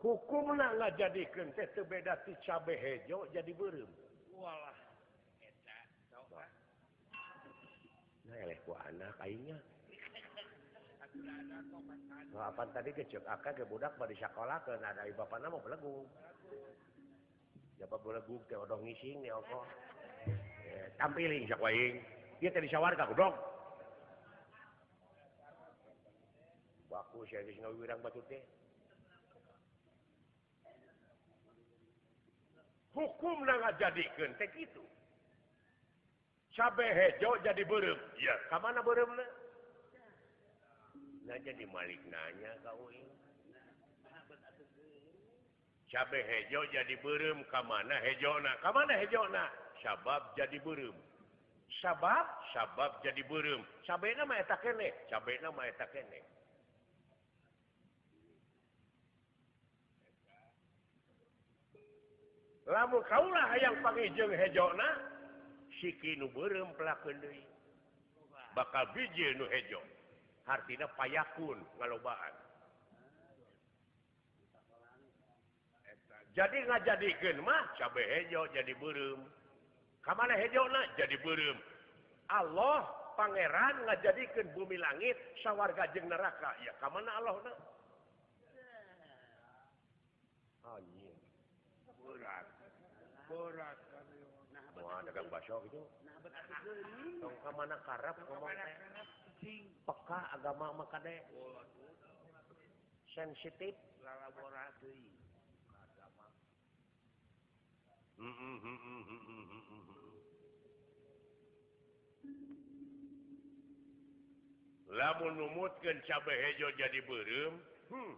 Speaker 4: hukumna ngajadikeun teh teu beda ti cabe hejo jadi beureum
Speaker 3: Walah. Eta. Sok, ah.
Speaker 4: nah eleh ku anak aingnya Nah, apa tadi kecil akak ke budak bari sekolah ke nada ibu bapak nama belegu. Dapat belegu teh odong ngising nih oko. Eh, tampiling sak waing. Dia tadi sawarga ku dong. Baku saya geus ngawirang batu teh.
Speaker 1: hukum na ngajadikeun teh kitu cabe hejo jadi beureum ya
Speaker 4: Ka mana beureumna?
Speaker 1: nah jadi malik nanya ka uing cabe hejo jadi beureum ka mana hejona ka mana hejona sabab jadi beureum
Speaker 4: Sabab
Speaker 1: sabab jadi beureum
Speaker 4: sabena mah eta keneh.
Speaker 1: cabena mah eta kene
Speaker 4: Lamun kaulah hayang pangijeung hejona,
Speaker 1: siki nu beureum pelakeun deui bakal biji nu hejo hartina payakun ngalobaan
Speaker 4: jadi ngajadikeun mah
Speaker 1: cabe hejo jadi beureum
Speaker 4: ka mana hejona?
Speaker 1: jadi beureum
Speaker 4: Allah pangeran ngajadikeun bumi langit sawarga jeung neraka ya ka mana Allahna anjing
Speaker 3: Berat. Berat. kami. Nah,
Speaker 1: moal dagang baso gitu
Speaker 3: nah, betul geuning.
Speaker 4: tong ka mana karep ngomong
Speaker 3: Kamana
Speaker 4: teh
Speaker 3: kana cing.
Speaker 4: peka agama mah kade sensitif
Speaker 3: Lalabora teuing.
Speaker 1: Mm, mm, mm, mm, mm, mm, mm, mm, mm. lamun numutkeun cabe hejo jadi beureum hmm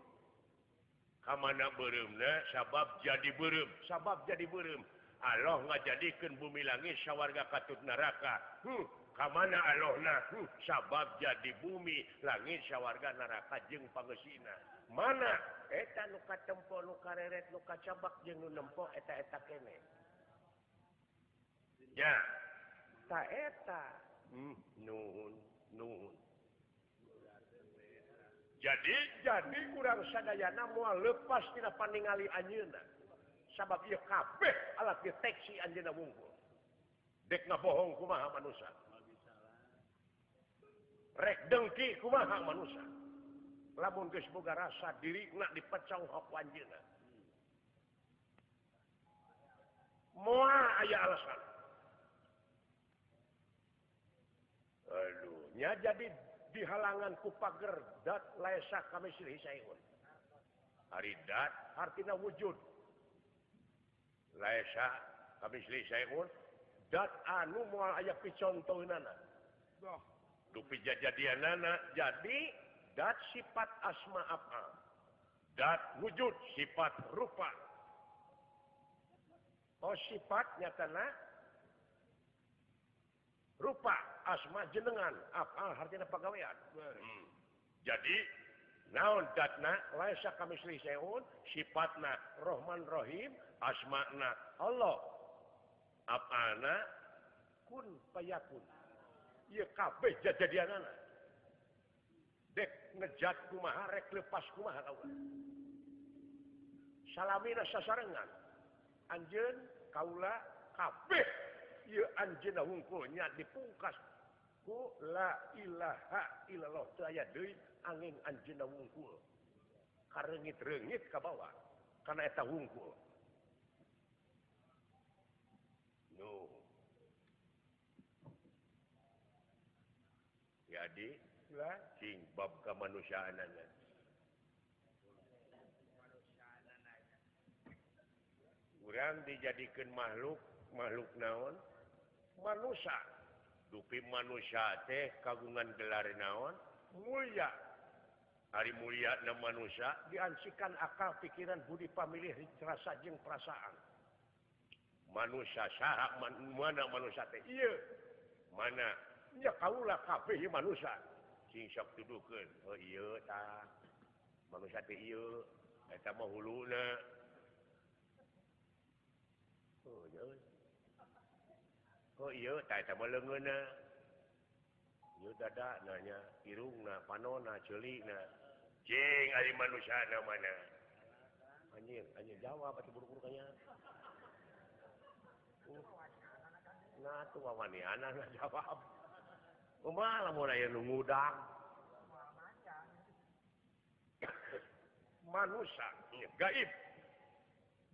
Speaker 1: kamana beureumna sabab jadi beureum sabab jadi beureum Allah ngajadikeun bumi langit sawarga katut neraka hmm kamana Allahna hmm sabab jadi bumi langit sawarga neraka jeung pangesina mana
Speaker 4: eta nu katempo nu kareret nu kacabak jeung nu nempo eta eta kene
Speaker 1: ya
Speaker 4: ta eta
Speaker 1: hmm nuhun nuhun
Speaker 4: jadi jadi kurang sadayana moal lepas tina paningali anjeunna sabab ieu kabeh alat deteksi anjeunna wungkul
Speaker 1: dek ngabohong kumaha manusia
Speaker 4: rek dengki kumaha manusia lamun geus boga rasa diri nak dipecong hok anjeunna moal aya alasan
Speaker 1: aduh
Speaker 4: nya jadi di halangan ku pager dat laesa kami silih saeun
Speaker 1: haridat
Speaker 4: artina wujud
Speaker 1: laesa kami silih saeun
Speaker 4: dat anu moal aya picontoeunana
Speaker 3: Doh.
Speaker 1: dupi jajadianana jadi
Speaker 4: dat sifat asma af'al
Speaker 1: dat wujud sifat rupa
Speaker 4: Oh sifat nyatana rupa asma jenengan afal hartina pagawean
Speaker 1: Hmm. jadi
Speaker 4: naon datna laisa kamisli seun sifatna rohman rohim
Speaker 1: asma'na
Speaker 4: Allah
Speaker 1: apana
Speaker 4: kun payakun ieu kabeh jajadianana dek ngejat kumaha rek lepas kumaha kaula salamina sasarengan anjeun kaula kabeh ieu anjeunna hungkulnya dipungkas
Speaker 1: ku la ilaha illallah teu aya deui angin anjeunna wungkul kareungit-reungit ka bawah kana eta wungkul no jadi lah sing bab kemanusiaanana urang dijadikan makhluk makhluk naon manusia dupi manusia teh kagungan gelar naon mulia hari mulia na manusia diansikan akal pikiran budi pamilih rasa jeung perasaan manusia saha man, mana manusia teh iya mana ya kaulah kabeh ieu manusia sing sok tuduhkeun oh iya ta manusia teh iya eta mah huluna oh ya Oh iya, tak sama lengan na. Iya dada nanya, irung na, panona, celik na. Jeng, ada manusia na mana? Anjir, anjir jawab atau buruk-buruknya. Uh. Nah, tuh wawan ni anak na jawab. Umah lah mau nanya nungudang. manusia, iya, gaib.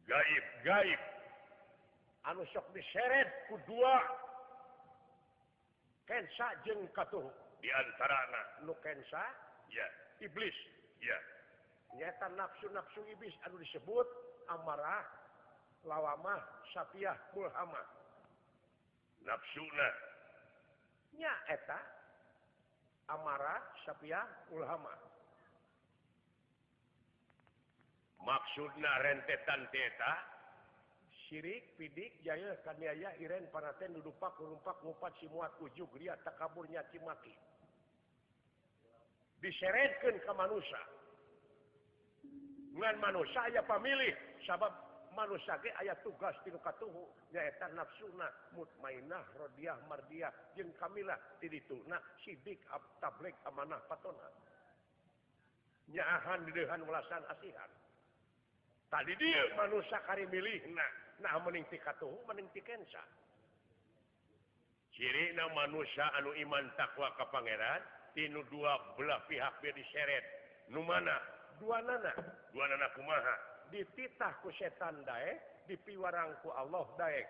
Speaker 1: Gaib, gaib. anu sok diseret ku dua kensa jeung katuh
Speaker 6: di antarana
Speaker 1: nu kensa
Speaker 6: ya
Speaker 1: iblis
Speaker 6: ya
Speaker 1: nyata nafsu-nafsu iblis anu disebut amarah lawamah sapiah mulhamah
Speaker 6: nafsuna
Speaker 1: nya eta amarah sapiah mulhamah
Speaker 6: maksudna rentetan teta
Speaker 1: sirik pidik jaya kaniaya iren panaten dudupak rumpak ngupat simuat ujug ria takabur nyaci maki diseretkeun ka manusia ngan manusia aya pamilih sabab manusia ge aya tugas tinu katuhu nyaeta nafsuna mutmainah rodiah mardiah jeung kamilah tidituna sidik ab tablek amanah patona nyaahan dideuhan welasan asihan tadi dia manusia kari milih nah nah mending ti katuhu mending ti kensa
Speaker 6: cirina manusia anu iman takwa ka pangeran tinu dua belah pihak biar diseret nu mana
Speaker 1: dua nana
Speaker 6: dua nana kumaha
Speaker 1: dititah ku setan daek dipiwarang ku Allah daek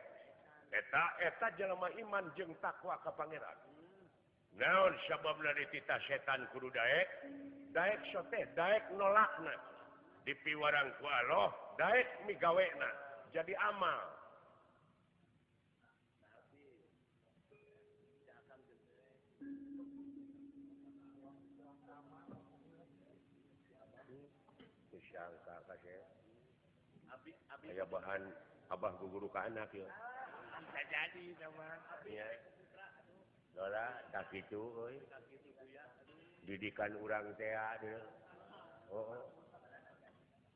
Speaker 6: eta
Speaker 1: eta jelema iman jeung takwa ka pangeran
Speaker 6: naon sababna dititah setan kudu daek
Speaker 1: daek soteh daek nolakna
Speaker 6: dipiwarang ku Allah
Speaker 1: daek migawena jadi amal
Speaker 6: disangka kasih aya bahan abah guguru ka anak ya
Speaker 3: Bisa jadi sama.
Speaker 6: ya Lora, tak itu, oi. Didikan urang teh ada. Oh, oh.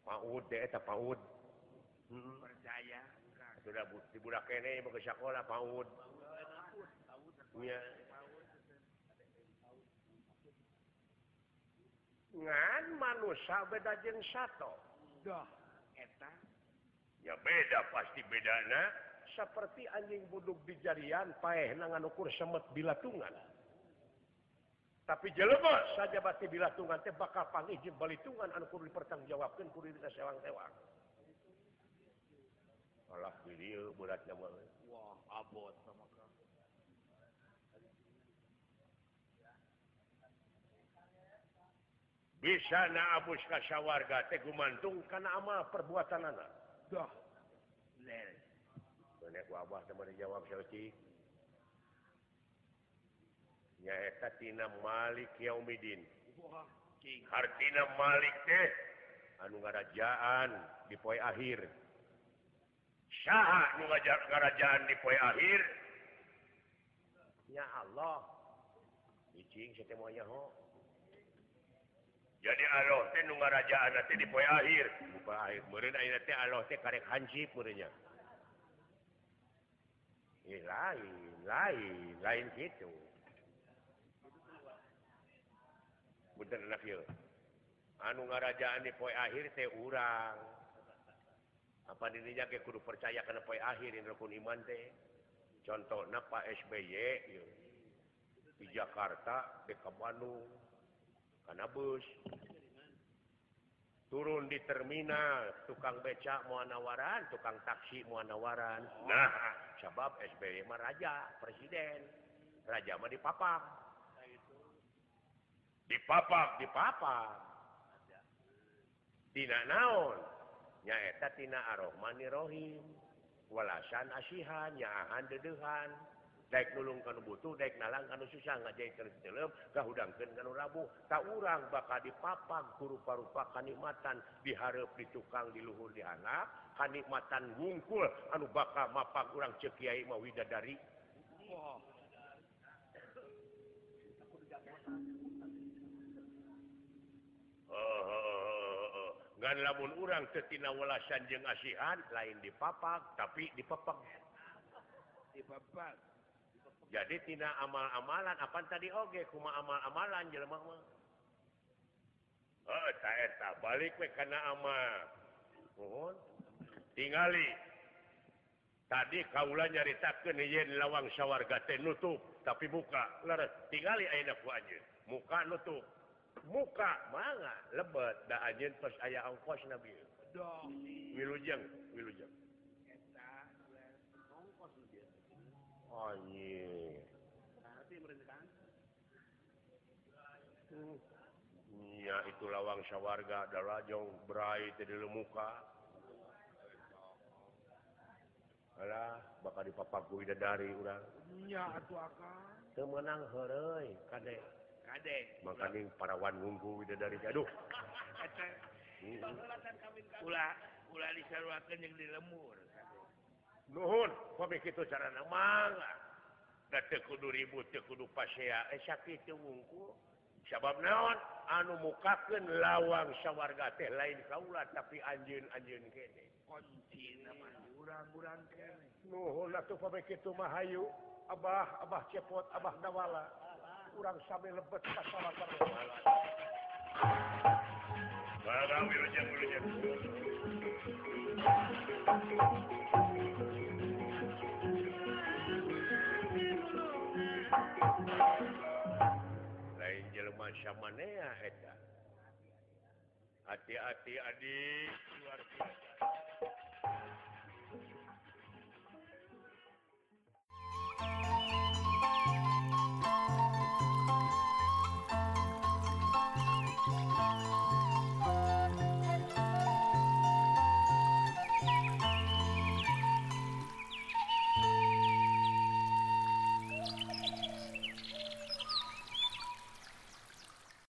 Speaker 6: paud deh, tak paud. Hmm.
Speaker 3: Percaya.
Speaker 6: Sudah bu, di budak kene mau ke sekolah paud. Iya.
Speaker 1: ngan manusia beda jeung sato
Speaker 3: Dah. Eta.
Speaker 6: Ya beda pasti bedana.
Speaker 1: seperti anjing buduk di jarian paeh nangan ukur semet bilatungan
Speaker 6: Tapi jelema
Speaker 1: saja bati bilatungan teh bakal panggih jeung balitungan anu kudu dipertanggungjawabkeun kudu disewang-sewang
Speaker 6: Allah di dieu beratna mah.
Speaker 3: Wah, abot sama kau.
Speaker 6: Bisa na abus ka sawarga teh gumantung
Speaker 1: kana amal perbuatan anak
Speaker 3: Dah. Lel.
Speaker 6: Mana ku abah teh mana jawab sauci. Nyaeta tina Malik Yaumidin.
Speaker 3: Wah. King.
Speaker 6: Hartina Malik teh anu ngarajaan di poe akhir. Saha nu ngajar ngarajaan di poe akhir?
Speaker 1: nya Allah
Speaker 6: Icing setemonya ho. Jadi Allah teh nu ngarajaan teh di poe akhir. Di poe akhir meureun ayeuna teh Allah teh karek hansip meureunnya.
Speaker 1: eh, lain lain lain gitu
Speaker 6: Bener anak ieu. Anu ngarajaan di poe akhir teh urang. Apa dirinya ke kudu percaya kana poe akhir ini rukun iman teh. Contohna Pak SBY ieu.
Speaker 1: di Jakarta di ke Bandung karena bus turun di terminal tukang becak muanawaran tukang taksi muanawaran nah sebab SBY mah raja presiden raja mah dipapak dipapak dipapak tina naon nyaeta tina arohmani rohim walasan asihan nyaahan dedehan daik nulung kanu butuh daik nalang kanu susah ngajai keur teuleum gahudangkeun kanu rabu tak urang bakal dipapag kurupa-rupa kanikmatan dihareup di tukang di luhur di anak kanikmatan wungkul anu bakal mapag urang ceuk kiai mah widadari Eh, Oh, oh, oh, oh. Ngan lamun urang teu tina welasan jeung asihan lain dipapag tapi dipepeg
Speaker 3: di bapak
Speaker 1: jadi tina amal-amalan apa tadi oge kuma amal-amalan jelema mah oh tak eta balik we kana amal mohon tingali tadi kaula nyaritakeun yen lawang sawarga teh nutup tapi muka leres tingali ayeuna ku anjeun muka nutup muka mangga lebet da anjeun pas aya ongkos nabi
Speaker 3: dong
Speaker 1: wilujeng wilujeng Oh, Anjir. Hmm. Ya itu lawang sawarga adalah jauh berai tadi muka. Alah, bakal dipapak gue dari urang.
Speaker 3: nya atuh akang
Speaker 1: Temenang heroi, kade.
Speaker 3: kade
Speaker 1: Makanya parawan ngunggu widadari. Aduh.
Speaker 3: eta
Speaker 1: Hmm.
Speaker 3: ulah ulah disaruakeun jeung di lemur
Speaker 1: Nuhun, pemikitu cara mangga. Da teu kudu ribut, teu kudu pasea, eh sakitu wungkul. Sabab naon anu mukakeun lawang sawarga teh lain kaula tapi anjeun-anjeun kene.
Speaker 3: kunci nama urang-urang kene
Speaker 1: Nuhun atuh pemikitu mah hayu. Abah, abah cepot, abah dawala. Urang sami lebet masalah terlalu. Barang wilujeng wilujeng. Lain jelema samanea eta. Hati-hati adik luar biasa.